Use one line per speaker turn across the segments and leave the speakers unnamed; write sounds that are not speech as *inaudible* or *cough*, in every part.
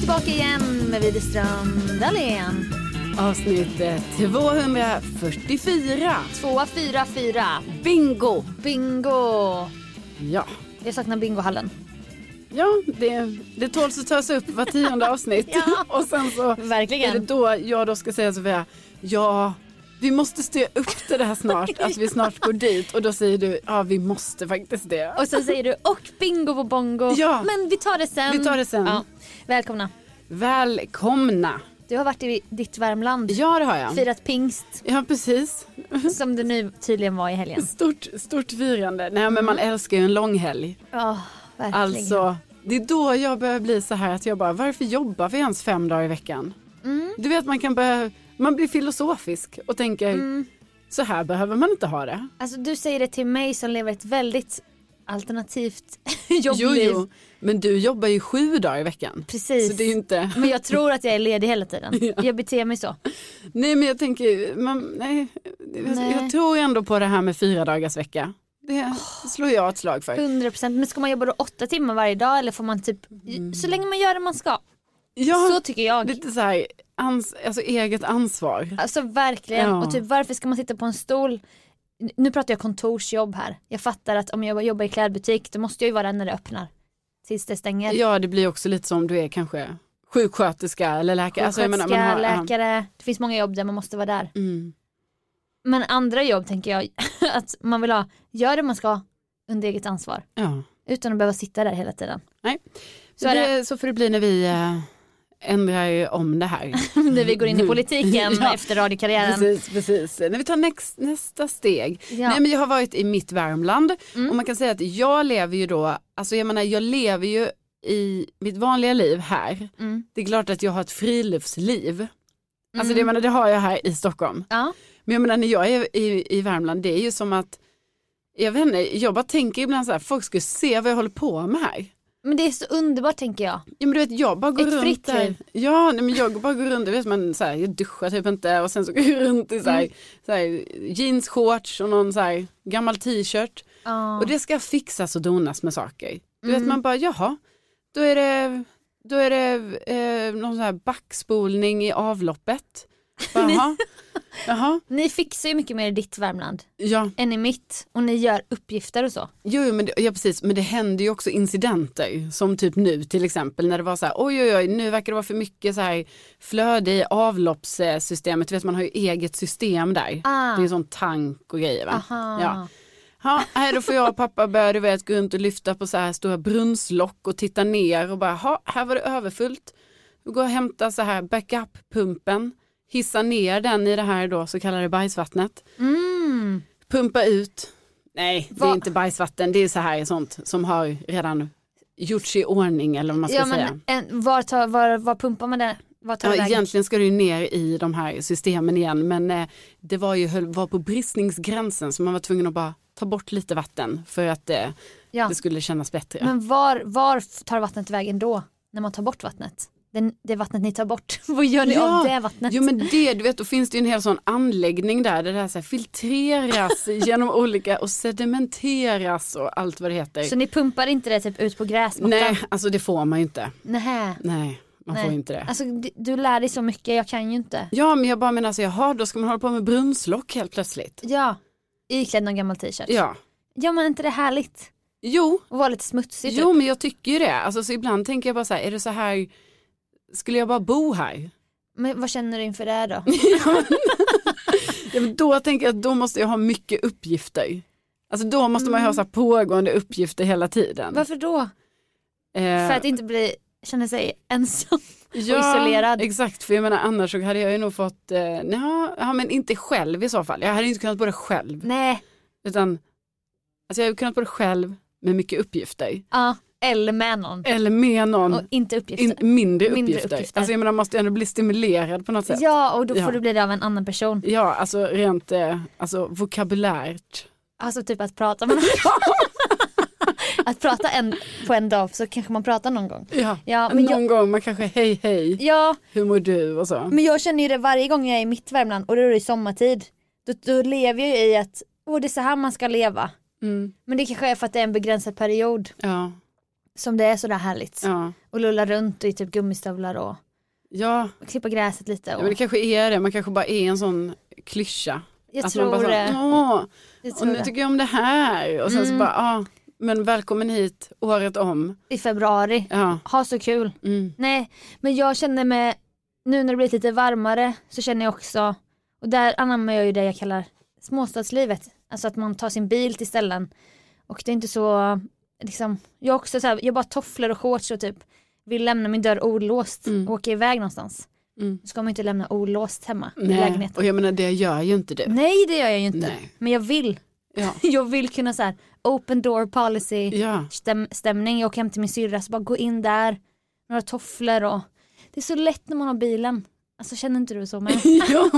tillbaka igen med Widerström Dahlén.
Avsnitt eh, 244.
Tvåa, fyra, fyra.
Bingo!
Bingo!
Ja,
Jag saknar bingohallen.
ja det, det tåls att tas upp var tionde avsnitt.
*laughs* Ja.
*laughs* Och sen så är det
Verkligen.
då jag då ska säga Sofia, ja, vi måste styra upp till det
*laughs*
här snart, att vi snart går dit. Och då säger du, ja vi måste faktiskt det.
Och sen säger du och bingo på bongo.
Ja.
Men vi tar det sen.
Vi tar det sen.
Ja. Välkomna.
Välkomna!
Du har varit i ditt Värmland.
Ja det har jag.
Firat pingst
Ja precis.
som det nu tydligen var i helgen.
Stort, stort firande. Nej men
Mm.
man älskar ju en lång helg.
*laughs* Ja, verkligen.
Alltså, det är då jag börjar bli så här att jag bara, varför jobbar vi ens fem dagar i veckan?
Mm.
Du vet man kan börja, man blir filosofisk och tänker,
Mm.
så här behöver man inte ha det.
Alltså du säger det till mig som lever ett väldigt alternativt *laughs* jobbliv.
men du jobbar ju sju dagar i veckan.
Precis.
Så det är ju inte,
Men jag tror att jag är ledig hela *laughs* tiden. Jag beter mig så.
nej men jag tänker, man, nej,
Nej.
jag tror ändå på det här med fyra dagars vecka. Det slår jag ett slag för.
100% men ska man jobba då åtta timmar varje dag eller får man typ så länge man gör det man ska.
Mm. Ja,
Så tycker jag.
lite så här, ans, alltså eget ansvar.
Alltså verkligen.
Ja.
Och typ varför ska man sitta på en stol? N- Nu pratar jag kontorsjobb här. Jag fattar att om jag jobbar i klädbutik då måste jag ju vara där när det öppnar. Tills det stänger.
Ja, det blir också lite som du är kanske sjuksköterska eller läkare. Alltså, jag menar, man
Sjuksköterska,
har- ja.
läkare. Det finns många jobb där man måste vara där.
Mm.
Men andra jobb tänker jag *laughs* att man vill ha. Gör det man ska under eget ansvar.
Ja.
Utan att behöva sitta där hela tiden.
Nej.
Så är det.
Det- så får det bli när vi eh, ändrar ju om
*laughs*
det här.
När vi går in i politiken
Mm. *laughs* Ja.
efter radiokarriären.
precis, precis. När vi tar näst, nästa steg.
Ja. Mm.
Nej, men jag har varit i mitt Värmland och man kan säga att jag lever ju då, alltså jag menar jag lever ju i mitt vanliga liv här.
Mm.
Det är klart att jag har ett friluftsliv. Alltså det, jag menar, det har jag här i Stockholm.
Ja.
Men jag menar när jag är i, i Värmland, det är ju som att, jag vet inte, jag bara tänker ibland så här, folk ska se vad jag håller på med här.
Men det är så underbart tänker jag.
Ja men du vet jag bara går
Ett
runt
fritt
där.
liv.
Ja nej, men jag bara går runt, du vet man så här, jag duschar typ inte och sen så går jag runt i så
Mm.
här, så här, jeans, shorts och någon så här gammal t-shirt.
Ja. Mm.
Och det ska fixas och donas med saker. Du vet man bara jaha, då är det, då är det eh, någon sån här backspolning i avloppet.
*laughs*
Bara, Jaha, jaha,
Ni fixar ju mycket mer i ditt Värmland
ja.
än i mitt och ni gör uppgifter och så.
Jo, jo, men det, ja, precis. Men det händer ju också incidenter. Som typ nu till exempel när det var så här oj oj oj nu verkar det vara för mycket så här flöde i avloppssystemet. Du vet man har ju eget system där.
Ah.
Det är ju sån tank och grejer va.
Aha.
Ja. Ja, här då får jag och pappa börja du vet, gå runt och lyfta på så här stora brunnslock och titta ner och bara ha här var det överfullt. Vi går och hämtar så här backup-pumpen, hissa ner den i det här då så kallade bajsvattnet
Mm.
pumpa ut. Nej, det
Va-
är inte bajsvatten. Det är så här sånt som har redan gjorts i ordning eller vad man ska
Ja,
säga.
men, en, var, tar, var, var pumpar man det? Var tar det
Ja,
vägen?
egentligen ska det ju ner i de här systemen igen men eh, det var ju höll- var på bristningsgränsen så man var tvungen att bara ta bort lite vatten för att eh,
ja.
det skulle kännas bättre.
Men var, var f- tar vattnet vägen då? När man tar bort vattnet? Den, det vattnet ni tar bort, *laughs* vad gör ni
Ja,
av det vattnet?
Jo men det, du vet, då finns det ju en hel sån anläggning där, där det här så
*laughs*
här filtreras genom olika och sedimenteras och allt vad det heter.
Så ni pumpar inte det typ ut på gräsmattan?
Nej, alltså det får man ju inte.
Nähä.
Nej, man
Nej.
får ju inte det.
Alltså du, du lär dig så mycket, jag kan ju inte.
Ja men jag bara menar så jaha då ska man hålla på med brunnslock helt plötsligt.
Ja, iklädd någon gammal t-shirt.
Ja.
ja men är inte det härligt?
Jo,
Och vara lite smutsig typ.
jo men jag tycker ju det. Alltså så ibland tänker jag bara så här, är det så här, skulle jag bara bo här?
Men vad känner du inför det då?
Ja, men då tänker jag att då måste jag ha mycket uppgifter. Alltså då måste
Mm.
man ju ha så här pågående uppgifter hela
*laughs*
tiden.
Varför då?
Eh,
För att inte bli, känna sig ensam.
ja,
isolerad.
Exakt, för jag menar annars så hade jag ju nog fått, eh, nej, ja men inte själv i så fall. Jag hade ju inte kunnat bo där själv.
Nej,
Utan, alltså jag hade kunnat bo där själv med mycket uppgifter.
ja. Eller med någon.
Eller med någon.
Och inte uppgifter.
In, mindre,
Mindre
uppgifter.
uppgifter.
Alltså jag menar, man måste ju ändå bli stimulerad på något sätt. Ja,
ja, och då får
Ja.
du bli det av en annan person.
alltså rent eh, alltså, vokabulärt.
Alltså typ att prata *laughs* med någon. att prata en, på en dag så kanske man pratar någon gång.
Ja,
Ja, men
Eh, någon gång man kanske hej hej,
Ja,
hur mår du och så.
men jag känner ju det varje gång jag är i mitt Värmland och då är det sommartid. Då, då lever jag ju i att åh, det är så här man ska leva.
Mm,
Men det kanske är för att det är en begränsad period.
ja.
som det är sådär härligt.
Ja.
Och lulla runt i typ gummistövlar och,
Ja,
och klippa gräset lite.
ja,
Och,
men det kanske är det, man kanske bara är en sån klyscha.
jag,
att
tror
alltså, man bara
det,
så, Åh,
jag
och
tror
nu
det.
tycker jag om det här. Och sen
Mm.
så bara, ja, men välkommen hit året om.
I februari.
Ja,
Ha så kul.
mm.
Nej, men jag känner mig, nu när det blivit lite varmare så känner jag också, och där anammar jag ju det jag kallar småstadslivet. Alltså att man tar sin bil till ställen. Och det är inte så, liksom, jag är också så här, jag bara tofflor och shorts och typ vill lämna min dörr olåst
Mm.
och åka iväg någonstans.
Mm.
Då ska man ju inte lämna olåst hemma i
Nej.
lägenheten.
Och jag menar det gör ju inte du.
Nej det gör jag ju inte.
Nej.
Men jag vill,
Ja,
*laughs* jag vill kunna så här open door policy
ja. *laughs*
stäm- stämning. Jag åker hem till min syrra så bara gå in där, några tofflor och det är så lätt när man har bilen. Alltså känner inte du så
*laughs*
men
ja.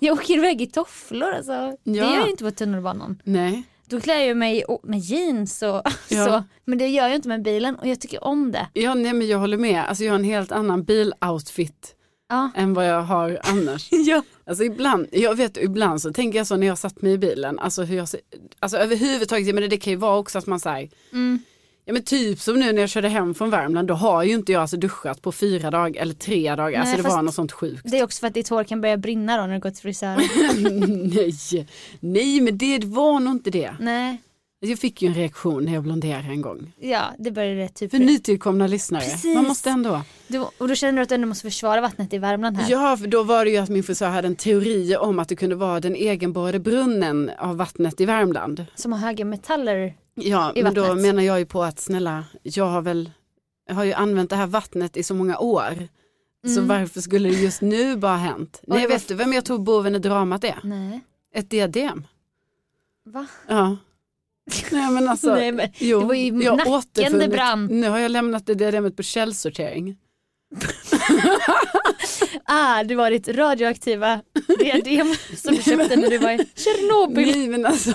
jag åker iväg i tofflor alltså. Det
Ja.
gör jag inte på tunnelbanan.
Nej.
Då klär jag ju mig i- med jeans och *laughs*
Ja.
så. Men det gör jag inte med bilen och jag tycker om det.
Ja, nej men jag håller med. Alltså jag har en helt annan biloutfit *laughs*
Ja.
än vad jag har annars.
ja.
Alltså ibland, jag vet ibland så tänker jag så när jag satt mig i bilen, alltså hur jag ser, alltså överhuvudtaget, men det kan ju vara också att man säger,
Mm.
ja men typ som nu när jag körde hem från Värmland, då har ju inte jag alltså duschat på fyra dagar eller tre dagar, alltså
Nej,
det
fast-
var något sånt sjukt. *laughs*
Det är också för att ditt hår kan börja brinna då när du går till frisören.
nej, nej men det var nog inte det.
Nej,
Jag fick ju en reaktion när jag blonderade en gång.
ja det började typ.
För nytillkomna lyssnare,
Precis.
man måste ändå.
Du, och då känner du att du ändå måste försvara vattnet i Värmland här.
Ja, för då var det ju att min frisör hade en teori om att det kunde vara den egenborrade brunnen av vattnet i Värmland.
Som har höga metaller.
Ja,
I
men då
vattnet.
menar jag ju på att snälla, jag har väl, jag har ju använt det här vattnet i så många år. Så
Mm.
varför skulle det just nu bara ha hänt?
det
Nej,
var-
vet du vem jag tror boven i dramat är?
Nej.
Ett diadem.
Mm. Va?
Ja. Nej men
*laughs*
alltså,
Nej, men,
jo,
det var ju
jag
nacken det
återfunnit-
brann.
Nu har jag lämnat det diademet på källsortering.
Ah, det var ditt radioaktiva diadem som du köpte när du var i Tjernobyl.
Nej men alltså,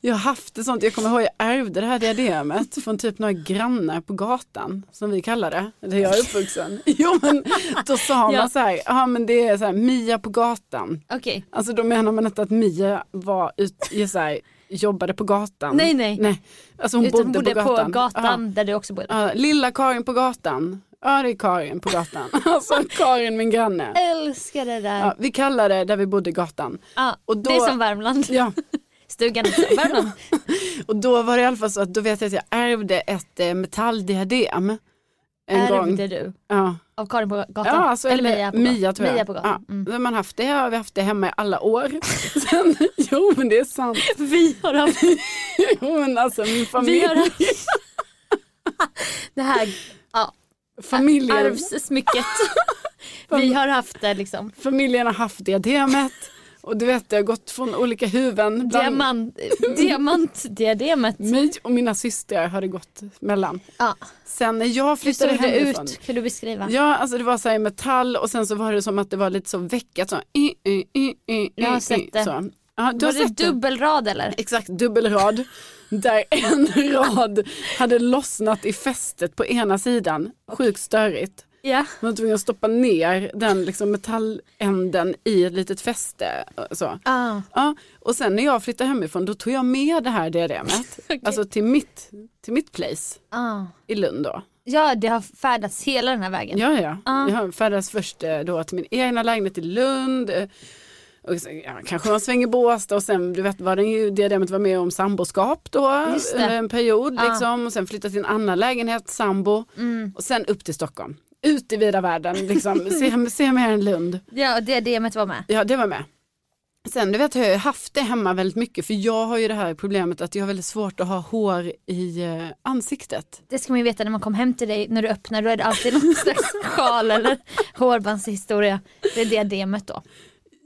jag har haft ett sånt, jag kommer ihåg jag ärvde det här diademet från typ några grannar på gatan som vi kallar det, där jag är uppvuxen. *laughs* Jo men då sa
Ja.
man så här, ja men det är så här Mia på gatan.
Okej,
Alltså då menar man inte att Mia var ut, i så här, jobbade på gatan.
Nej, nej.
nej. Alltså hon
utan hon
bodde,
bodde
på gatan.
där du också bor.
Ja, ja, lilla Karin på gatan. Ja det är Karin på gatan. *laughs* Alltså Karin min granne.
Älskar det där.
Ja, vi kallar det där vi bodde gatan.
Ah,
och då-
Det är som Värmland.
Ja,
Stugan är som Värmland.
Och då var det i alla fall så att då vet jag att jag ärvde ett eh, metalldiadem. *laughs* En gång.
Ärvde du
Ja.
av Karin på gatan?
ja, alltså, eller Mia,
på gatan?
tror jag.
Mia på gatan.
Ja. *laughs*
Mm.
Men Man har haft det, har vi haft det hemma i alla år. *laughs* Sen, jo men det är sant. *laughs*
*laughs* Vi har haft,
Jo men alltså min familj,
vi har
*laughs*
haft... det här ja,
familjen, *laughs*
arvssmycket. vi har haft det liksom.
familjen har haft diademet. Och du vet det har gått från olika huvuden. Bland
Diamant, diamantdiademet.
mig och mina systrar har det gått mellan.
Ja.
Sen när jag
Hur
flyttade
såg det
hemifrån.
ut? Kan du beskriva?
Ja, alltså det var så här i metall och sen så var det som att det var lite så veckat så. I, i, i, i,
Jag har
i,
sett
i,
det.
Så. Ja, du har
Var det
sett det.
dubbelrad eller?
Exakt, dubbelrad. Där en rad hade lossnat i fästet på ena sidan. Sjukt störigt.
Ja.
Man var tvungen att stoppa ner den liksom metalländen i ett litet fäste. Så.
Ah.
Ja, och sen när jag flyttade hemifrån då tog jag med det här diademet.
*laughs* Okej.
Alltså till mitt, till mitt place
Ah.
i Lund då.
Ja, det har färdats hela den här vägen.
Ja, ja.
Ja.
Jag färdades först eh, då till min egna lägenhet i Lund. eh, Och sen, ja, kanske man svänger i Båstad och sen du vet var den ju diademet var med om samboskap då
Just det.
under en period
Ja.
liksom och sen flyttade till en annan lägenhet, sambo
Mm.
och sen upp till Stockholm. Ut i vida
*laughs*
världen liksom, se, se mer än Lund.
Ja, och diademet var med.
Ja det var med. Sen du vet har jag ju haft det hemma väldigt mycket för jag har ju det här problemet att jag har väldigt svårt att ha hår i eh, ansiktet.
Det ska man ju veta när man kom hem till dig, när du öppnar, då är det alltid någon
*laughs*
slags sjal eller hårbandshistoria. Det är diademet då.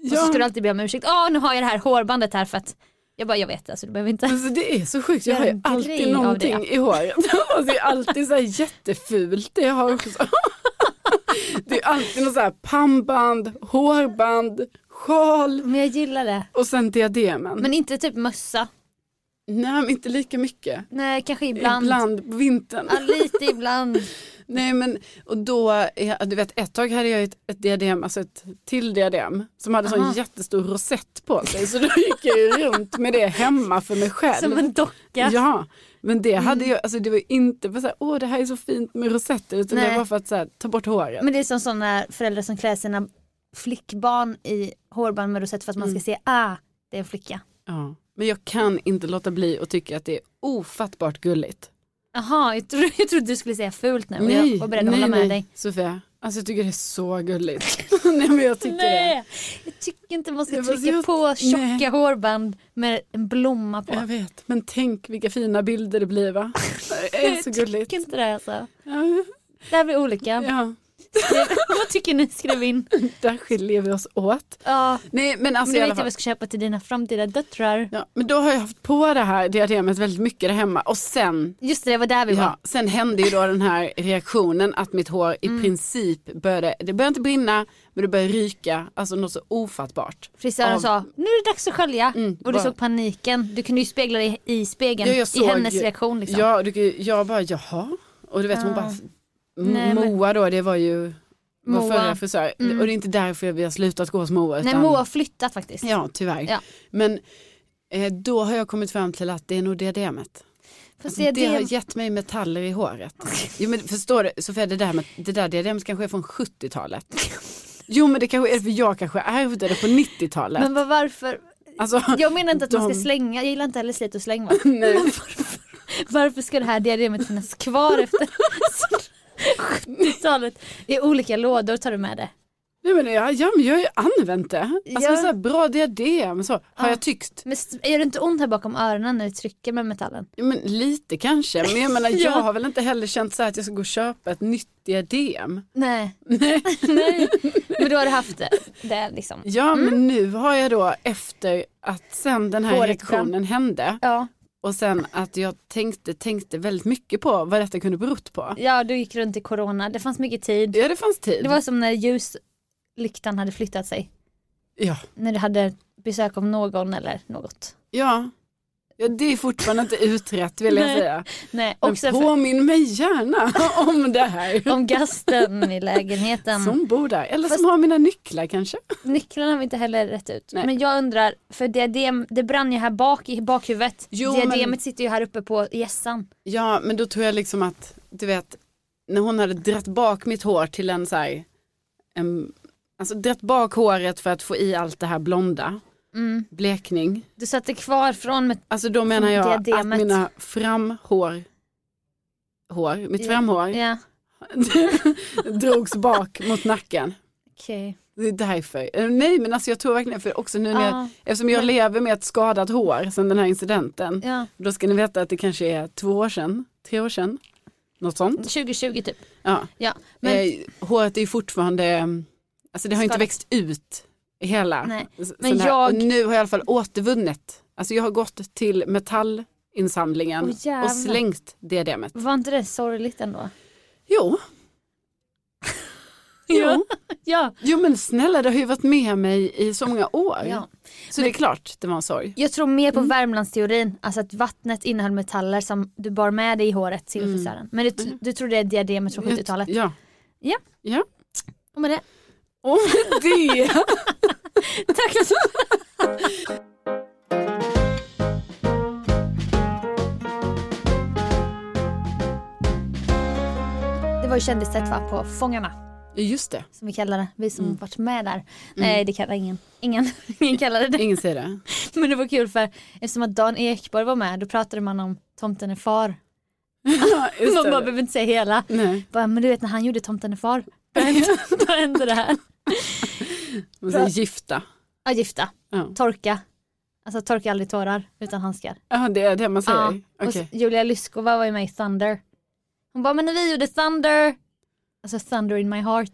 Och så ska du alltid be om ursäkt. Ja, nu har jag det här hårbandet här för att jag bara, jag vet alltså du behöver inte.
Alltså det är så sjukt, jag
Gör
har ju
en grej
alltid
av
någonting i håret. *laughs* Alltså det är alltid så här jättefult det jag har också. *laughs* Det är alltid något så här pannband, hårband, sjal
Men jag gillar det.
och sen diademen.
Men inte typ mössa.
Nej men inte lika mycket.
Nej, kanske ibland. Ah.
Ibland, på vintern. *laughs*
Ja, lite ibland.
Nej men och då, eh, du vet ett tag hade jag ett, ett diadem, alltså ett till diadem som hade sån
Aha.
jättestor rosett på sig så då gick jag ju runt med det hemma för mig själv.
Som en docka.
Ja, men det hade
Mm.
jag, alltså det var ju inte för så här, åh det här är så fint med rosetter utan det
Nej.
var för att så här, ta bort håret.
Men det är som sådana föräldrar som klär sina flickbarn i hårband med rosett för att man ska se, ah, det är en flicka.
ja. men jag kan inte låta bli och tycka att det är ofattbart gulligt.
Jaha, jag, tro, jag trodde du skulle säga fult nu och jag var beredd att
nej,
hålla med
nej,
dig.
Sofia, alltså jag tycker det är så gulligt. *laughs* nej men jag tycker det.
Nej, jag tycker inte man ska
Jag bara,
trycka
jag-
på tjocka
nej.
hårband med en blomma på.
Jag vet, men tänk vilka fina bilder det blir va? Det
*laughs*
är så
Jag
gulligt.
tycker inte det alltså.
Ja,
Där är vi olika.
ja,
Vad tycker ni? Skrev in.
där skiljer vi oss åt.
Ja,
Nej men
men
alltså
du
i
vet
alla
jag vad
fall.
jag ska köpa till dina framtida döttrar.
Ja, men då har jag haft på det här diademet väldigt mycket där hemma och sen
Just det, det var där vi var.
Ja, sen hände ju då den här reaktionen att mitt hår i
Mm.
princip började, det började inte brinna men det började ryka, alltså något så ofattbart.
Frisören
Av-
sa, nu är det dags att skölja.
Mm,
och du
bara-
såg paniken. Du kunde ju spegla dig i spegeln,
Ja, jag såg-
i hennes reaktion liksom.
Ja, och du, jag bara jaha, och du vet hon
Ja.
bara, M-
Nej, men-
Moa då det var ju vår
Moa.
förra frisör
Mm.
och det är inte därför vi har slutat gå hos Moa.
Nej,
utan-
Moa har flyttat faktiskt.
Ja, tyvärr.
Ja.
Men eh, då har jag kommit fram till att det är nog diademet.
Fast
Det,
det,
har gett mig metaller i håret. Jo men förstår du Sofia, det där, med, det där diademet kanske är från 70-talet. Jo men det kanske är för jag kanske ärvde det på 90-talet.
Men vad- varför?
alltså,
Jag menar inte att man
De-
ska slänga, jag gillar inte heller slit och släng va?
*laughs*
*laughs*
nej.
Men varför, varför ska det här diademet finnas kvar efter 70-talet? I olika lådor tar du med det.
nej men jag, ja, men jag har ju använt det. Alltså
Ja.
med så här bra diadem så har
Ja.
jag tyckt.
Men st- gör det inte ont här bakom öronen när du trycker med metallen?
Jo, Men lite kanske, men jag menar
*laughs*
jag
Ja.
har väl inte heller känt så här att jag ska gå och köpa ett nytt diadem.
Nej.
*laughs*
*laughs* Nej. Men då har du haft det, det liksom.
Ja men nu har jag då efter att sen den här
Håret
reaktionen hände
Ja,
och sen att jag tänkte, tänkte väldigt mycket på vad detta kunde berott på.
ja du gick runt i corona, det fanns mycket tid.
Ja det fanns tid.
Det var som när ljuslyktan hade flyttat sig.
Ja.
När du hade besök av någon eller något.
Ja. ja, det är fortfarande inte utrett vill jag
Nej.
säga.
Nej,
Men
också för,
påminn mig gärna *laughs* om det här.
om gasten i lägenheten.
*laughs* Som bor där, eller
Ehm, Fast-
som har mina nycklar kanske.
Nycklarna har vi inte heller rätt ut.
Nej.
Men jag undrar, för diadem, det brann ju här bak i bakhuvudet.
Jo,
Diademet
men-
sitter ju här uppe på hjässan.
Ja, men då tror jag liksom att, du vet, när hon hade dratt bak mitt hår till en så här, en, alltså dratt bak håret för att få i allt det här blonda,
Mm.
blekning.
Du satte kvar från med...
Alltså då menar jag
diademet.
att mina framhår, hår, mitt
Ja.
framhår
Ja,
*laughs* drogs bak mot nacken.
okej.
Det är därför. Eh, Nej men alltså jag tror verkligen, för också nu när jag,
Ja,
eftersom jag
men-
lever med ett skadat hår sedan den här incidenten,
ja.
då ska ni veta att det kanske är två år sedan, tre år sedan, något sånt.
2020 typ.
Ja.
Ja, men
Eh, håret är ju fortfarande, mm, alltså det har ju inte
Skadat.
växt ut i hela.
Nej,
s-
men
sån här.
jag-
Och nu har jag i alla fall återvunnit, alltså jag har gått till metallinsamlingen
Åh, jävlar.
och slängt diademet.
var inte det sorgligt ändå?
Jo. jo.
*laughs* Ja.
jo men snälla det har ju varit med mig i så många år.
ja.
Så det är klart det var en sorg.
Jag tror mer på Värmlandsteorin, alltså att vattnet innehöll metaller som du bar med dig i håret till
Mm.
frisören. Men du, du tror det är diademet från 70-talet. *laughs*
Ja.
Ja.
ja.
Och med det,
Och med det.
*laughs* tack! Det var ju kändistätt va, på Fångarna.
Just det,
som vi kallar det, vi som varit med där. Nej det kallar ingen, ingen, *laughs* ingen kallar det det.
ingen
*laughs*
säger det.
Men det var kul för eftersom att Dan Ekborg var med då pratade man om Tomten är far.
Ja, just
Man bara
det.
behöver inte säga hela.
Nej,
Bara, men du vet när han gjorde Tomten är far, *laughs* då hände, då hände det här.
man säger gifta.
Ja gifta,
Ja,
torka. Alltså torka aldrig tårar utan handskar.
ja det är det man säger.
Ja.
Okej.
Och så, Julia Lyskova var ju med i Thunder. Hon bara, men när vi gjorde Thunder, alltså Thunder in my *laughs* heart.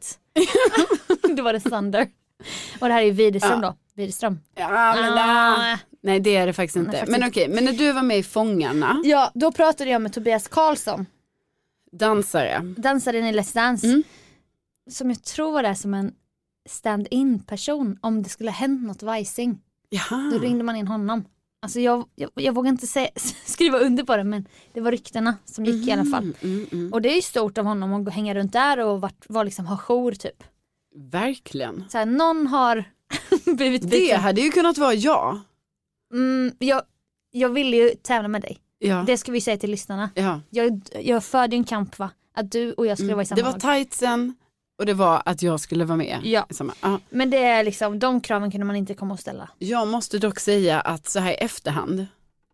då var det Thunder. Och det här är ju Widerström
Ja.
då, Widerström.
Ja, men det...
Ah.
Nej det är det faktiskt inte.
Nej, faktiskt
men okej, men när du var med i Fångarna,
Ja, då pratade jag med Tobias Karlsson,
dansare.
dansaren i Let's Dance,
Mm.
som jag tror var där som en stand-in person om det skulle ha hänt något vajsing.
Jaha.
Då ringde man in honom. Alltså jag, jag, jag vågar inte sä- *laughs* skriva under på det men det var ryktena som gick i alla fall.
Mm, mm, mm.
Och det är ju stort av honom att gå- hänga runt där och vart, var liksom, ha jour typ.
Verkligen.
Så här, någon har *laughs* blivit
Det
biten.
hade ju kunnat vara jag.
Mm, jag, jag ville ju tävla med dig.
Ja.
Det ska vi säga till lyssnarna.
ja. Mm.
Jag, jag förde ju en kamp va? Att du och jag skulle vara i samma
Det var
lag.
tightsen och det var att jag skulle vara med.
Ja.
i Samma. Ja.
Men det är liksom, de kraven kunde man inte komma och ställa.
Jag måste dock säga att så här i efterhand,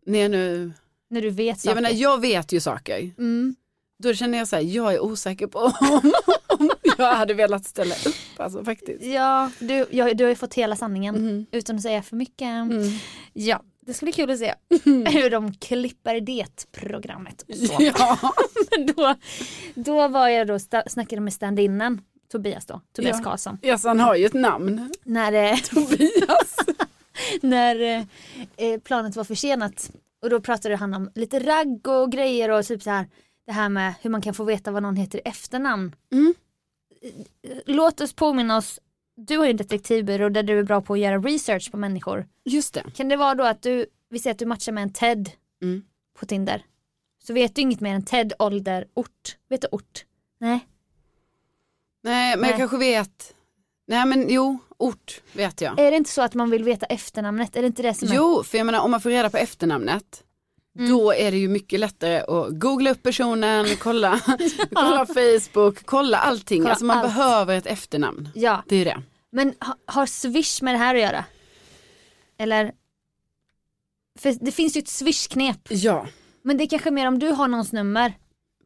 när jag nu,
När du vet saker.
jag menar jag vet ju saker,
mm.
då känner jag så här, jag är osäker på *laughs* om, om jag hade velat ställa upp alltså faktiskt.
Ja, du, jag, du har ju fått hela sanningen
Mm.
utan att säga för mycket.
Mm.
Ja, det ska bli kul att *laughs* se hur de klipper det programmet. och Så.
Ja.
Men *laughs* då, då var jag då sta- snackade med stand-innen, Tobias då, Tobias
Ja.
Karlsson.
Yes, han har ju ett namn,
När, *laughs* eh,
Tobias.
när eh, eh, planet var försenat och då pratade han om lite ragg och grejer och typ så här det här med hur man kan få veta vad någon heter i efternamn.
Mm.
Låt oss påminna oss, du har ju en detektivbyrå där du är bra på att göra research på människor.
Just det.
Kan det vara då att du, vi säger att du matchar med en Ted
Mm.
på Tinder. Så vet du inget mer än Ted, ålder, ort. Vet du ort? Nej.
Nej, men
Nej.
jag kanske vet. Nej, men jo, ort vet jag.
Är det inte så att man vill veta efternamnet? Är det inte det som är?
Jo, för jag menar om man får reda på efternamnet,
Mm.
då är det ju mycket lättare att googla upp personen,
*laughs*
kolla, kolla Facebook, kolla allting.
Kolla
alltså man
allt.
behöver ett efternamn.
Ja,
Det är ju det.
men ha, har Swish med det här att göra? Eller? För det finns ju ett Swish-knep.
Ja,
Men det är kanske mer om du har någons nummer.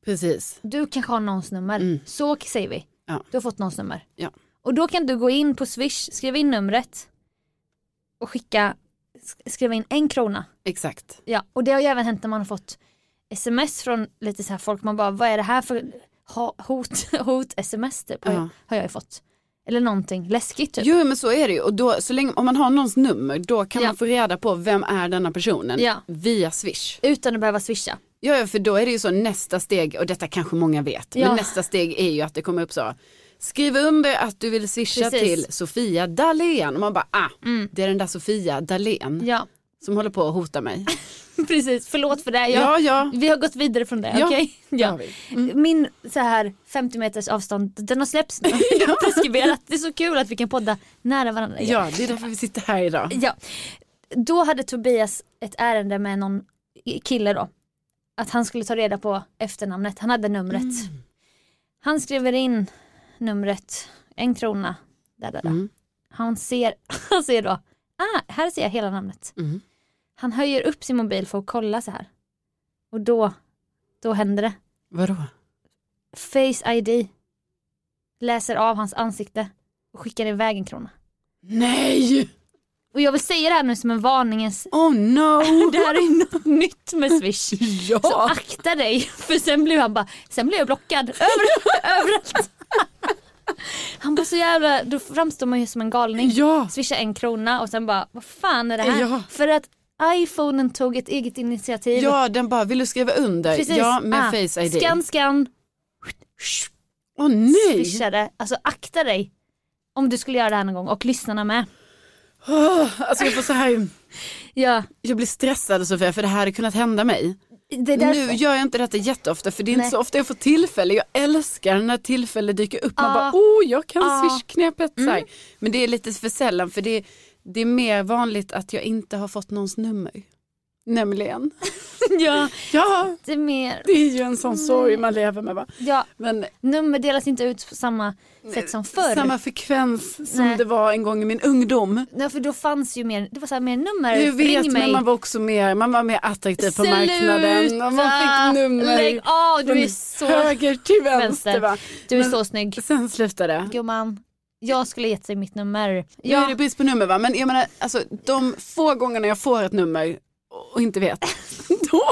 precis.
Du kanske har någons nummer.
Mm.
Så säger vi.
Ja.
Du har fått någons nummer.
Ja.
Och då kan du gå in på Swish, skriva in numret och skicka, sk- skriva in en krona.
Exakt.
Ja, och det har ju även hänt när man har fått sms från lite så här folk, man bara vad är det här för ha, hot, *laughs* hot sms typ, har, jag,
Ja.
har jag ju fått. Eller någonting läskigt typ.
Jo men så är det ju och då, så länge, om man har någons nummer då kan
Ja.
man få reda på vem är denna personen
Ja.
via swish.
Utan att behöva swisha.
Ja ja, för då är det ju så nästa steg och detta kanske många vet
Ja.
men nästa steg är ju att det kommer upp så skriv under att du vill swisha
Precis. Mm.
till Sofia Dalén och man bara ah det är den där Sofia Dalén
Ja, *laughs*
som håller på att hota mig.
precis. Förlåt för det. Jag,
Ja ja.
Vi har gått vidare från det,
Ja.
okej?
ja.
Ja.
Mm.
Min så här 50 meters avstånd, den har släppts nu. *laughs* Det har preskriberat. Det är så kul att vi kan podda nära varandra. igen.
ja det är därför vi sitter här idag.
Ja. Då hade Tobias ett ärende med någon kille då. Att han skulle ta reda på efternamnet, han hade numret. Han skriver in numret, en krona. Där, där, där.
Mm.
Han, ser, *laughs* han ser då, ah, här ser jag hela namnet.
Mm.
Han höjer upp sin mobil för att kolla så här. Och då, då händer det.
Vadå?
Face ID läser av hans ansikte och skickar iväg en krona.
Nej!
Och jag vill säga det här nu som en varningens *laughs*
Oh no!
Det här är något nytt med Swish.
ja!
Så akta dig för sen blev han bara, sen blev jag blockad Över, *laughs* överallt. Han bara så jävla, då framstår man ju som en galning.
ja!
Swisha en krona och sen bara, vad fan är det här?
Ja.
För att iPhonen tog ett eget initiativ.
Ja, den bara, vill du skriva under? Ja, med
Ah,
face ID.
Scan, scan,
Åh nej!
swishade. Alltså akta dig om du skulle göra det här någon gång och lyssnarna med.
Åh, alltså jag får så här,
Ja,
jag blir stressad Sofia för det här hade kunnat hända mig.
det är därför.
Nu gör jag inte detta jätteofta för det är
Nej.
inte så ofta jag får tillfälle. Jag älskar när tillfälle dyker upp. Man
Ah.
bara, oh jag kan
Ah.
swishknepet. Mm. Men det är lite för sällan för det, det är mer vanligt att jag inte har fått någons nummer. Nämligen.
ja,
*laughs*
Mm.
Ja,
det är mer.
det är ju en sån sorg man lever med. Va?
Ja,
Men
nummer delas inte ut på samma sätt som förr.
samma frekvens som
Nej.
det var en gång i min ungdom.
Nej, för då fanns ju mer, det var så här, mer nummer.
Jag vet
Ring
men
mig.
man var också mer, man var mer attraktiv på
Sluta!
marknaden. Och man fick nummer
Lägg av,
från
du är så,
höger till
vänster.
vänster. Va?
du är
men-
så snygg.
Sen slutade det.
Gumman, jag skulle gett dig mitt nummer.
Nu är
Ja,
det brist på nummer va? Men jag menar alltså de få gångerna jag får ett nummer och
*laughs*
inte vet. Då,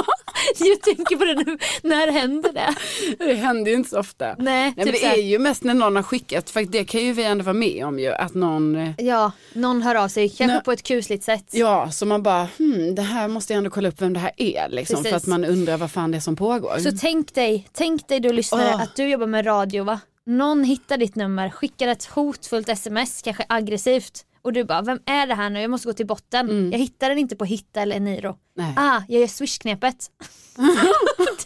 jag tänker på det nu, när händer det?
det händer ju inte så ofta. Nej,
Nej,
men
typ
det
så här,
är ju mest när någon har skickat, för det kan ju vi ändå vara med om ju, att någon, eh,
Ja, någon hör av sig, kanske
Nej.
på ett kusligt sätt.
ja så man bara, hmm, det här måste jag ändå kolla upp vem det här är liksom,
Precis.
för att man undrar vad fan det är som pågår.
Så tänk dig, tänk dig du lyssnare
Mm. Åh.
att du jobbar med radio va? Någon hittar ditt nummer, skickar ett hotfullt sms, kanske aggressivt Och du bara, vem är det här nu? Jag måste gå till botten.
Mm.
Jag hittar den inte på Hitta eller Eniro.
Nej.
Ah, jag gör
*laughs*
swishknepet.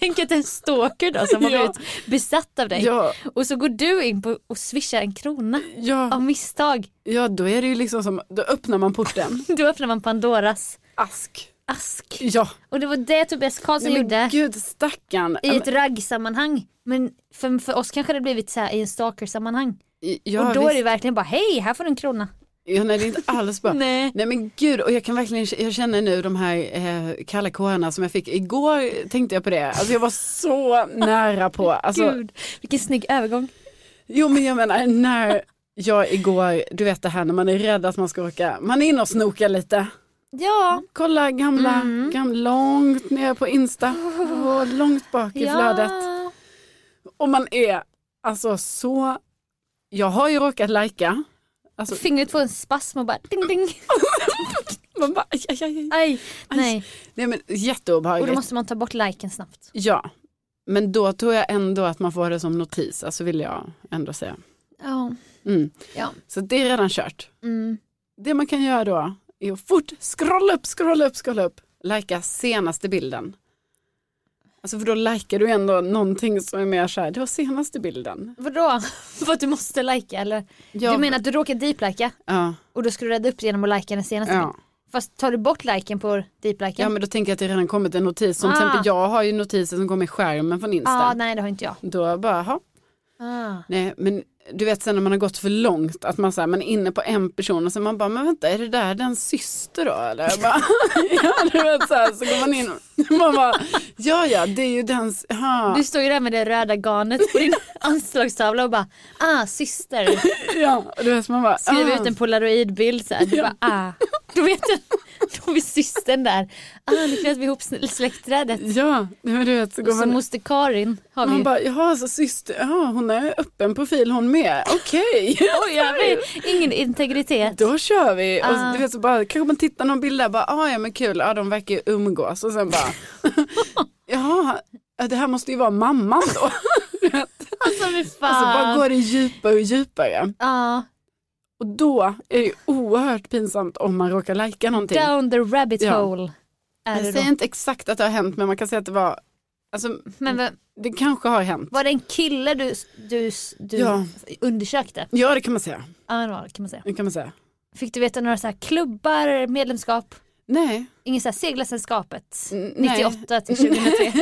Tänk att det är en stalker då som har
Ja.
blivit besatt av dig.
Ja,
Och så går du in på och swishar en krona
ja,
av misstag.
ja, då är det ju liksom som, då öppnar man porten.
Då öppnar man Pandoras
Ask.
*laughs* ask.
Ja.
Och det var det Tobias Karlsson
Nej, men
gjorde
Gud stackarn.
i ett raggsammanhang. Men för, för oss kanske det blivit så här i en stalker-sammanhang.
Ja,
och då är det
visst.
verkligen bara hej, här får du en krona.
ja, nej, det är inte alls bra.
Nej.
*laughs* Nej men gud, och jag kan verkligen, jag känner nu de här eh, kalla kårarna som jag fick igår, tänkte jag på det, alltså jag var *laughs* så nära på, alltså,
Gud, vilken snygg övergång.
jo men jag menar när jag igår, du vet det här när man är rädd att man ska åka, man är inne och snokar lite,
Ja,
kolla gamla,
Mm.
gamla långt ner på Insta, *laughs* och långt bak i flödet
ja.
och man är alltså så, jag har ju råkat lajka, alltså
Fingret får en spasm och bara ding *laughs* ding.
man bara, aj, aj, aj.
Aj, nej.
nej men
Och då
jätteobehagligt.
måste man ta bort liken snabbt.
Ja, men då tror jag ändå att man får det som notis, alltså vill jag ändå säga.
Ja.
Mm.
Ja.
Så det är redan kört.
Mm.
Det man kan göra då är att fort scrolla upp, scrolla upp, scrolla upp, lajka senaste bilden. Alltså för då likar du ändå någonting som är mer så här, det var senaste bilden.
Vadå? *laughs* För att du måste lika eller? Du menar att du råkar deep-lika
Ja,
och då ska du rädda upp det genom att lika den senaste bilden?
ja.
Fast tar du bort liken på deep-liken?
ja, men då tänker jag att det redan kommit en notis. Som
Ah.
till exempel jag har ju notiser som kommer i skärmen från Insta.
ah, nej det har inte jag.
Då bara, jaha,
Ah.
Nej, men du vet sen när man har gått för långt, att man, så här, man är inne på en person och sen man bara, men vänta, är det där den syster då? Eller? Jag Bara, *laughs* ja, du vet, så, här, så går man in och man bara, ja, ja, det är ju den, ha,
Du står ju där med det röda garnet
*laughs*
på din anslagstavla och bara ah syster.
ja, och du vet, så man bara,
Skriver
ah,
ut en polaroidbild så här. Du bara ah. Då vet *laughs* du. Då är systern där. Ah nu knöt vi ihop sl- släktträdet.
ja, nej, men du vet, så går
Och så
man,
moster Karin har vi
man
ju.
bara, jaha, så syster, ja, hon är öppen profil hon med, okej. *laughs*
Oj, jag har ingen integritet.
Då kör vi! Och
Ah.
så, du vet, så bara, kanske man tittar någon bild där, bara, ah, ja men kul, ah, de verkar ju umgås och sen bara, *laughs* jaha, det här måste ju vara mamman då.
Alltså fy fan. Ah,
Alltså bara går det djupare och djupare.
Ja,
Och då är det ju oerhört pinsamt om man råkar lajka någonting.
down the rabbit
Ja.
hole. Är det
Jag
då.
säger inte exakt att det har hänt men man kan säga att det var, alltså
Men vem-
det kanske har hänt.
Var det en kille du, du, du
Ja.
undersökte?
Ja det kan man säga.
Ja, det var det, kan man säga.
Det kan man säga.
Fick du veta några så här klubbar, medlemskap?
Nej.
Ingen så här seglarsällskapet
N- nej.
98 till
*laughs*
2003.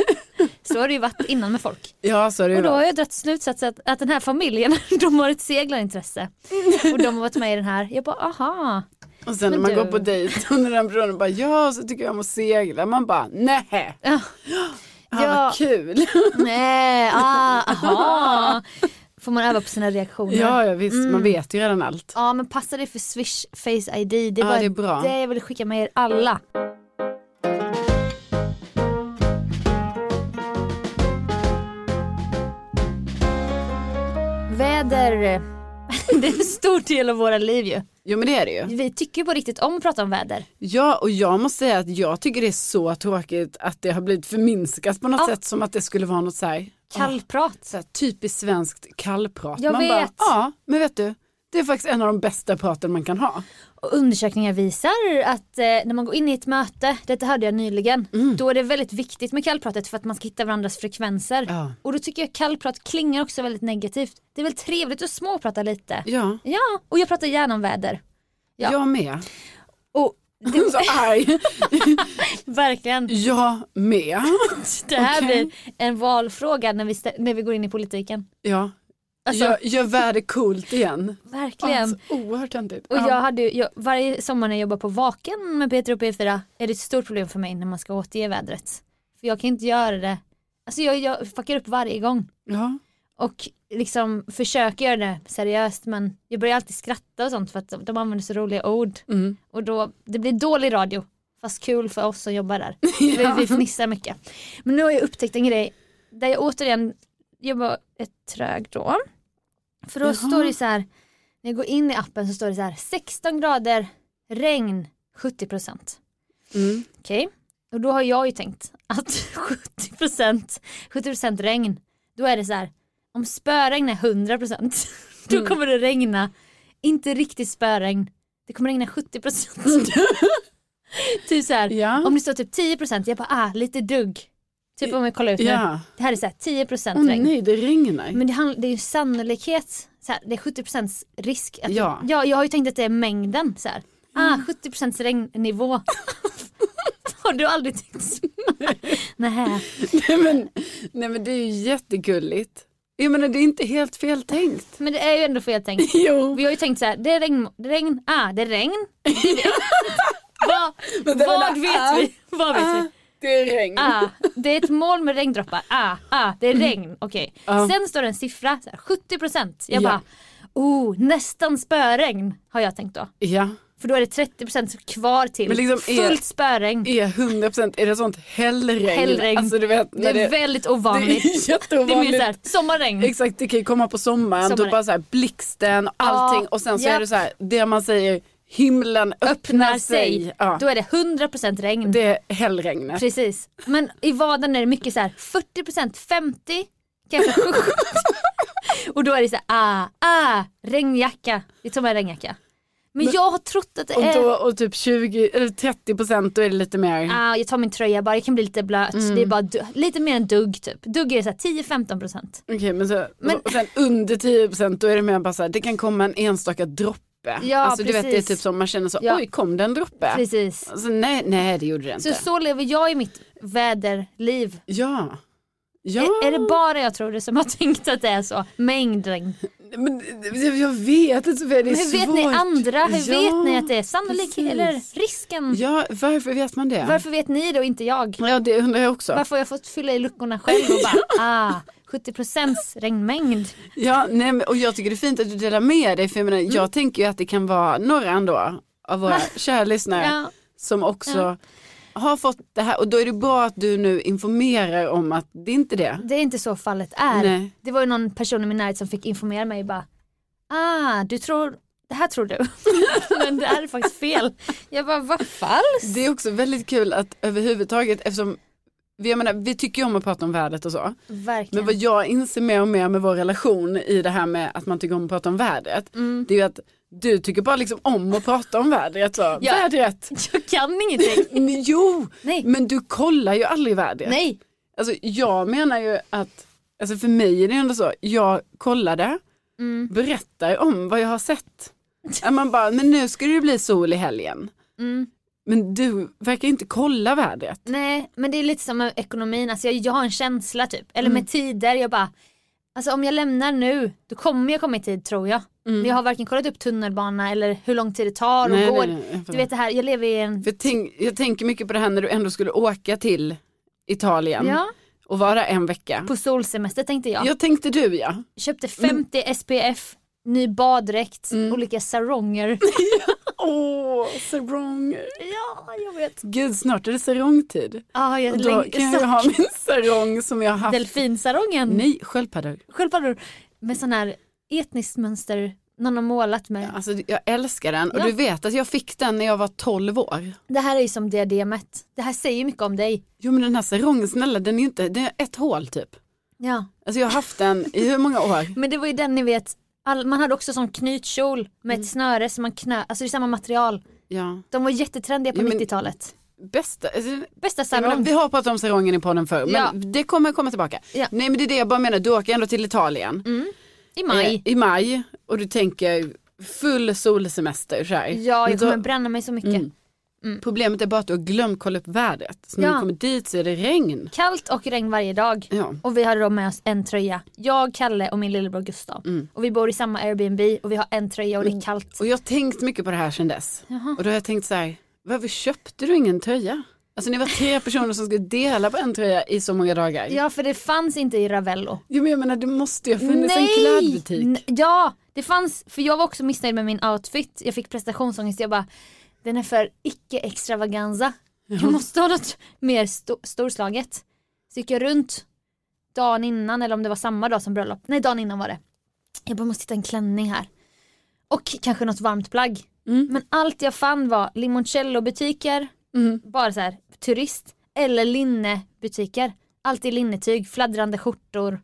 Så har det ju varit innan med folk.
Ja så har det ju
Och då har
varit.
jag dragit slutsatsen att, att den här familjen, *laughs* de har ett seglarintresse. Och de har varit med i den här. Jag bara aha.
Och sen när
Men
man
du-
går på dejt *laughs* och när den personen bara ja så tycker jag om att segla. Man bara nej. *gasps*
Ja.
Ah,
Ja.
vad kul. *laughs*
Nej, ah, aha. Får man öva på sina reaktioner.
Ja, ja visst, man vet ju redan allt.
Mm. Ja men passa dig för Swish Face ID. Det
Ja,
var
det är bra.
det jag ville skicka med er alla. Väder. *laughs* Det är en stor del av våra liv ju.
Jo men det är det ju.
Vi tycker ju på riktigt om att prata om väder.
Ja, och jag måste säga att jag tycker det är så tråkigt att det har blivit förminskat på något
Ja.
sätt som att det skulle vara något så här, Åh,
Kallprat.
så här typiskt svenskt kallprat.
Jag
man
vet.
Bara, ja, men vet du, det är faktiskt en av de bästa praten man kan ha.
Och undersökningar visar att eh, när man går in i ett möte, detta hörde jag nyligen,
Mm.
då är det väldigt viktigt med kallpratet för att man ska hitta varandras frekvenser.
Ja.
Och då tycker jag kallprat klingar också väldigt negativt. Det är väl trevligt att småprata lite.
Ja,
Ja, och jag pratar gärna om väder. Ja.
jag med.
Och
Du så arg. *laughs*
verkligen,
Jag med.
det här
Okej.
blir en valfråga när vi, stä- när vi går in i politiken.
Ja,
Alltså,
gör, gör världen coolt igen.
verkligen.
Alltså, oerhört töntigt.
Och
Ja.
jag hade, ju- jag, varje sommar när jag jobbar på Vaken med Peter och P4 är det ett stort problem för mig när man ska återge vädret. För jag kan inte göra det. Alltså jag, jag fuckar upp varje gång.
ja.
Och liksom försöker göra det seriöst men jag börjar alltid skratta och sånt för att de- de använder så roliga ord.
Mm.
Och då, det blir dålig radio. Fast kul för oss som jobbar
*laughs*
där.
Ja.
Vi, vi fnissar mycket. Men nu har jag upptäckt en grej där jag återigen jobbar ett trög då. För då
Jaha.
står det så här, när jag går in i appen så står det så här 16 grader, regn 70 procent.
Mm.
Okej, och då har jag ju tänkt att *laughs* 70 procent 70 procent regn, då är det så här, om *laughs*
Mm.
spöregn är 100 procent, då kommer det regna, inte riktigt spöregn, det kommer regna 70
*laughs*
procent. typ så här,
Ja.
om det står typ 10 procent, jag bara ah, lite dugg. Typ om vi kollar ut nu,
ja.
det här är så här 10 procent
Åh
regn.
nej, det regnar.
Men det, handl- det är ju sannolikhet, så här, det är 70 procents risk. Att
Ja. Mm.
ja. Jag har ju tänkt att det är mängden så här. Ah, 70 procents regnnivå. *laughs* har du aldrig tänkt så? *laughs* Nej.
nej, men, nej men det är ju jättegulligt. Jag menar det är inte helt fel tänkt.
Men det är ju ändå fel tänkt.
Jo,
Vi har ju tänkt så här, det är regn, det är regn, ah det är
*laughs*
regn. vad
Men det var
vad
det
vet
ah.
vi? Vad vet vi?
det är regn.
Ah, det är ett mål med regndroppar, ah, ah, det är
Mm.
regn, okej.
Ja.
Sen står det en siffra, så här, 70%. Jag
Ah. Ja.
bara, oh nästan spöregn har jag tänkt då.
Ja,
För då är det 30% kvar till,
Men liksom är-
fullt spöregn.
är 100 procent, är det sånt hällregn?
Hällregn.
Alltså du vet,
Det
när
är
det,
väldigt
*laughs* det
ovanligt.
är
Det är mer
jätteovanligt.
såhär, sommarregn.
Exakt, det kan ju komma på sommaren, då
Sommaren.
bara så här blixten och allting
Ja,
och sen så
japp.
är det så här, det man säger, himlen öppnar,
Öppnar
sig.
sig,
Ja,
då är det 100% regn.
det är hällregnet.
Precis. Men i vardagen är det mycket så här 40 50 kanske 70. *laughs* Och då är det så här, ah, ah, regnjacka. Vi tar med regnjacka. Men, jag har trott att det
Och,
är,
då, och typ 20 eller 30 procent, då är det lite mer.
ah, jag tar min tröja bara, jag kan bli lite blöt. Det
Mm.
är bara du- lite mer än dugg typ. Dugg är så här 10-15 procent.
Okej men, så,
Men-
och sen under 10 procent då är det mer bara så här, det kan komma en enstaka droppe.
Ja,
alltså du vet det är
precis.
typ som man känner så,
Ja.
oj kom det en droppe?
Precis.
Alltså, nej, nej det gjorde det
Så
inte.
så lever jag i mitt väderliv.
Ja. Ja,
Är, är det bara jag tror det som har tänkt att det är så? Mängdregn.
men, jag- jag vet inte Sofia, det
Men
är
hur vet
svårt.
ni andra? Hur
Ja,
vet ni att det är sannolik
precis.
eller risken?
Ja, varför vet man det?
Varför vet ni det och inte jag?
Ja, det undrar jag också.
Varför har jag fått fylla i luckorna själv och
*laughs*
bara ah, 70 regnmängd.
Ja, nej, men, och jag tycker det är fint att du delar med dig för jag, menar,
Mm.
jag tänker ju att det kan vara några ändå
*laughs*
av våra kära lyssnare
Ja.
som också har fått det här och då är det bra att du nu informerar om att det är inte det.
Det är inte så fallet är.
Nej.
Det var ju någon person i min närhet som fick informera mig bara ah, du tror, det här tror du. *laughs* Men det här är faktiskt fel. Jag bara vad falskt.
Det är också väldigt kul att överhuvudtaget eftersom vi- jag menar, vi tycker ju om att prata om vädret och så. Men
Verkligen.
vad jag inser mer och mer med vår relation i det här med att man tycker om att prata om vädret.
Mm.
Det är ju att du tycker bara liksom om att prata om vädret. Så. Vädret!
Jag kan ingenting.
Jo,
Nej.
men du kollar ju aldrig vädret.
Nej.
Alltså jag menar ju att, alltså för mig är det ändå så, jag kollade,
Mm.
berättar om vad jag har sett. Att man bara, men nu ska det ju bli sol i helgen.
Mm.
Men du verkar inte kolla vädret.
Nej men det är lite som med ekonomin, alltså jag, jag har en känsla typ. Eller
Mm.
med tider, jag bara Alltså om jag lämnar nu, då kommer jag komma i tid tror jag. Men jag har varken kollat upp tunnelbana eller hur lång tid det tar och
Mm. Nej,
går.
nej, nej, jag
Du vet det här, jag lever i en...
För jag, tänk, jag tänker mycket på det här när du ändå skulle åka till Italien
Ja,
och vara en vecka.
på solsemester tänkte jag.
Jag tänkte du ja. Mm.
Köpte 50 SPF, ny baddräkt, olika
*laughs*
saronger.
Åh, sarong.
ja, jag vet.
Gud, snart är det sarongtid.
Ah, jag
Och Då
läng-
kan jag ju ha min sarong som jag har haft.
Delfinsarongen.
Nej, sköldpaddor.
Sköldpaddor med sån här etniskt mönster någon har målat med.
Alltså jag älskar den och
Ja.
du vet att jag fick den när jag var 12 år.
Det här är ju som diademet. Det här säger ju mycket om dig.
Jo men den här sarongen snälla den är ju inte, den är ett hål typ.
Ja.
Alltså jag har haft den i hur många år? *laughs*
Men det var ju den ni vet, all, man hade också sån knytkjol med
Mm.
ett snöre som man knö, alltså det är samma material.
Ja,
De var jättetrendiga på
Ja, men-
90-talet.
bästa, alltså,
Bästa
Ja,
sarong.
vi har pratat om sarongen i podden förr men
Ja.
det kommer komma tillbaka.
Ja.
Nej men det är det jag bara menar, du åker ändå till Italien
I maj.
eh, i maj och du tänker full solsemester så här.
Ja,
Men
jag
då-
kommer bränna mig så mycket.
Mm. Problemet är bara att du har glömt kolla upp vädret. Så när
Ja.
du kommer dit så är det regn.
Kallt och regn varje dag.
Ja.
Och vi hade då med oss en tröja. Jag, Kalle och min lillebror Gustav.
Mm.
Och vi bor i samma Airbnb och vi har en tröja och det är kallt.
Och jag har tänkt mycket på det här sedan dess.
Jaha.
Och då har jag tänkt så här, varför köpte du ingen tröja? Alltså ni var tre personer som skulle dela på en tröja i så många dagar.
Ja, för det fanns inte i Ravello.
Jo men jag menar det måste ju ha funnits en klädbutik.
N- Ja, det fanns, för jag var också missnöjd med min outfit. Jag fick prestationsångest. Jag bara, den är för icke-extravaganza. Jag måste ha något mer sto- storslaget. Så gick jag runt dagen innan, eller om det var samma dag som bröllop. Nej, dagen innan var det. Jag bara, måste hitta en klänning här. Och kanske något varmt plagg.
Mm.
Men allt jag fann var limoncello-butiker,
Mm.
bara så här, turist. Eller linnebutiker. Alltid linnetyg, fladdrande skjortor.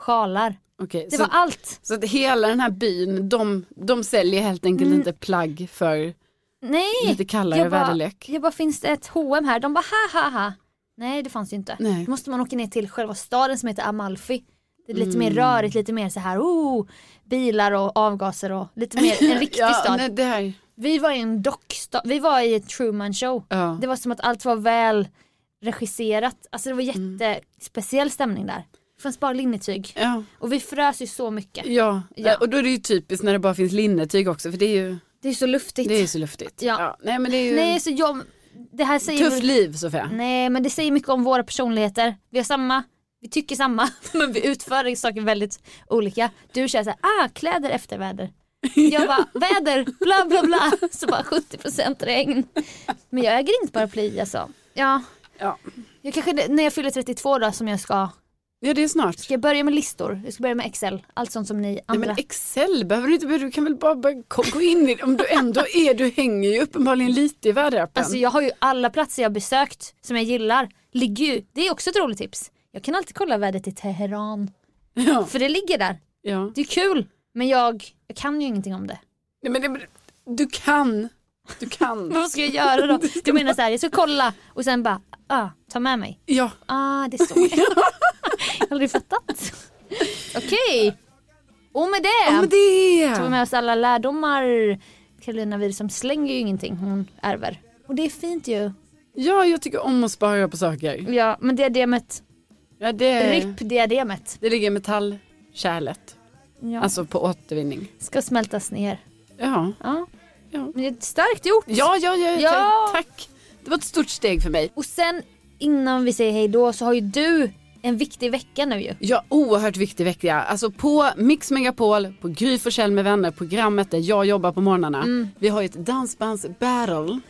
sjalar.
Okej,
Det
så,
var allt.
så att hela den här byn, de, de säljer helt enkelt
Mm.
inte plagg för
Nej!
lite kallare
jag bara-
väderlek.
Jag bara, finns det ett H&M här? De bara, ha ha ha. Nej, det fanns ju inte.
Nej.
Då måste man åka ner till själva staden som heter Amalfi. Det är lite
Mm.
mer rörigt, lite mer så här, oh, bilar och avgaser och lite mer
*laughs*
en riktig
ja,
stad.
Nej, det här,
Vi var i en dockstad, vi var i ett Truman show.
ja.
Det var som att allt var väl regisserat. Alltså det var
Mm.
jättespeciell stämning där. Det fanns bara linnetyg.
ja.
Och vi frös ju så mycket.
Ja.
Ja.
och då är det ju typiskt när det bara finns linnetyg också för det är ju,
Det är så luftigt.
det är ju så luftigt.
Ja.
Nej men det är ju
Nej, Mm. så jag, det här säger
tufft liv Sofia.
Nej men det säger mycket om våra personligheter. Vi har samma, vi tycker samma *laughs* men vi utför saker väldigt olika. Du känner såhär, ah kläder efter väder. Jag
*laughs*
bara väder, bla bla bla. Så bara 70% regn. Men jag äger inte paraply alltså. Ja.
Ja.
Jag kanske, när jag fyller 32 då som jag ska,
Ja det är snart.
ska jag börja med listor? Jag ska börja med Excel, allt sånt som ni
Nej
andra.
men Excel behöver du inte, börja- du kan väl bara börja ko- gå in i det. Om du ändå är, du hänger ju uppenbarligen lite i väderappen.
Alltså jag har ju alla platser jag besökt som jag gillar, ligger ju, det är också ett roligt tips. Jag kan alltid kolla vädret i Teheran,
ja,
för det ligger där.
ja.
Det är kul men jag, jag kan ju ingenting om det.
Nej, men det, du kan, du kan.
*laughs* Vad ska jag göra då? Du menar så här, jag ska kolla och sen bara ah, ta med mig.
ja,
Ah, det är så. jag *laughs* har aldrig fattat. Okej. Och med det
ja men det.
tar vi med oss alla lärdomar. Karolina Widerström slänger ju ingenting hon ärver. Och det är fint ju.
Ja, jag tycker om att spara på saker.
Ja men diademet,
Ja, det,
RIP diademet.
det ligger i metallkärlet,
Ja.
alltså på återvinning.
Ska smältas ner.
Ja,
Ja.
Ja.
Men det är starkt gjort.
ja, ja, ja,
Ja.
Tack, tack. Det var ett stort steg för mig.
Och sen innan vi säger hej då så har ju du en viktig vecka nu ju.
Ja, oerhört viktig vecka. Alltså på Mix Megapol, på Gry Forssell med vänner, programmet där jag jobbar på morgnarna. Vi har ju ett dansbandsbattle.
Mm.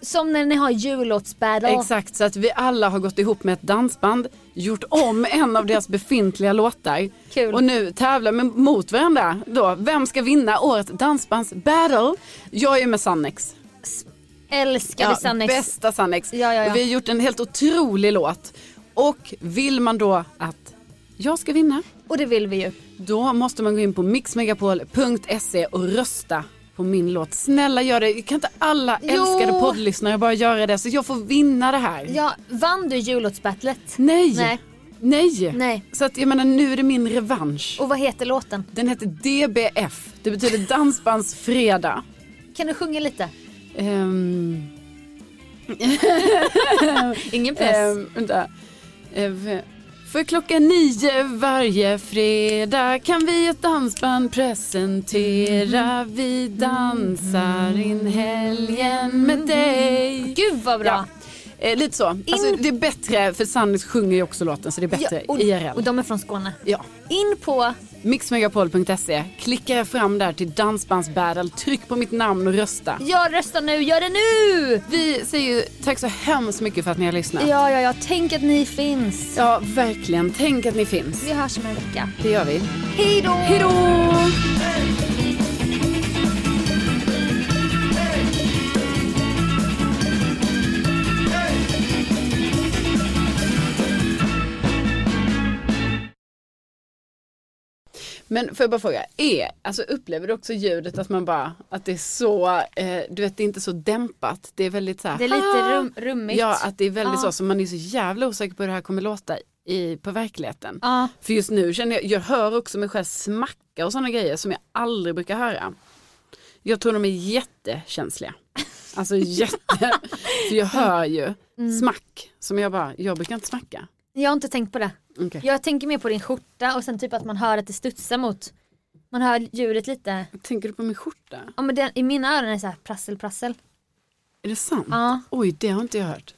Som när ni har jullåtsbattle.
Exakt, så att vi alla har gått ihop med ett dansband, gjort om en av deras befintliga låtar.
Kul.
Och nu tävlar vi mot varandra då. Vem ska vinna årets dansbandsbattle? Jag är ju med Sannex.
Älskade
Ja,
Sannex.
Bästa Sannex.
Ja, ja, ja.
Och Vi har gjort en helt otrolig låt. Och vill man då att jag ska vinna,
Och det vill vi ju.
då måste man gå in på mixmegapol.se och rösta på min låt. Snälla gör det. Kan inte alla
Jo.
älskade poddlyssnare bara göra det så jag får vinna det här?
Ja, vann du jullåtsbattlet?
Nej.
Nej.
Nej.
Nej.
Så att jag menar nu är det min revansch.
Och vad heter låten?
Den heter DBF. Det betyder dansbandsfredag.
Kan du sjunga lite?
Ehm,
Ingen press.
ehm, vänta. Ehm, för klockan nio varje fredag kan vi ett dansband presentera. Vi dansar in helgen med dig.
Gud vad bra.
Mm. Eh, lite så. Alltså, det är bättre, för Sannis sjunger ju också låten så det är bättre
Ja, och,
IRL.
och de är från Skåne.
ja.
In på,
Mixmegapol.se, klicka fram där till dansbandsbattle, tryck på mitt namn och rösta.
jag röstar nu, gör det nu!
Vi säger ju tack så hemskt mycket för att ni har lyssnat.
Ja, ja, ja, tänk att ni finns.
Ja, verkligen. Tänk att ni finns.
Vi hörs om en vecka.
Det gör vi.
Hej då!
Hej då! Men får jag bara fråga, är, alltså upplever du också ljudet att man bara, att det är så, eh, du vet det är inte så dämpat, det är väldigt så här, "Ah!"
Det är lite rum, rummigt.
Ja, att det är väldigt
Ja.
så, så man är så jävla osäker på hur det här kommer låta i, på verkligheten.
Ja.
För just nu känner jag, jag hör också mig själv smacka och sådana grejer som jag aldrig brukar höra. Jag tror de är jättekänsliga.
*laughs*
Alltså jätte, för jag hör ju
Mm.
smack som jag bara, jag brukar inte smacka.
Jag har inte tänkt på det.
Okej.
Jag tänker mer på din skjorta och sen typ att man hör att det studsar mot, man hör ljudet lite.
Tänker du på min skjorta?
Ja men den, i mina öron är det så här prassel prassel.
Är det sant?
Ja.
Oj, det har inte jag hört.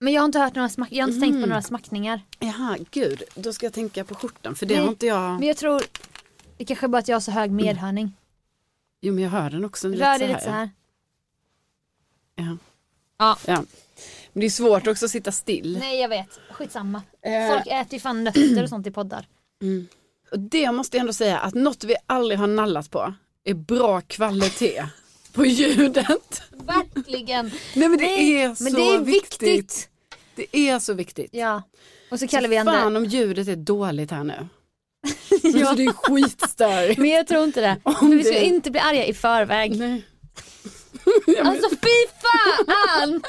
Men jag har inte hört några smack, jag har inte tänkt på några smackningar.
Jaha, gud, då ska jag tänka på skjortan för det
Nej,
har inte jag.
Men jag tror, det kanske bara att jag har så hög medhörning.
Jo, men jag hör den också.
Rör dig Mm. lite så här.
Ja.
Ja.
Ja. Men det är svårt också att sitta still.
Nej jag vet, skitsamma.
Eh.
Folk äter ju fan nötter och sånt i poddar.
Och det måste jag ändå säga att något vi aldrig har nallat på är bra kvalitet på ljudet.
*laughs* Verkligen.
Nej men det
Nej,
är så
men det är
viktigt.
viktigt.
Det är så viktigt.
Ja. Och så kallar vi
Fan
andra,
om ljudet är dåligt här nu. Alltså det är
*laughs*
skitstörigt.
Men jag tror inte det.
Om
Men vi ska
det-
inte bli arga i förväg.
Nej. Ja,
*laughs*
men-
Alltså fy fan!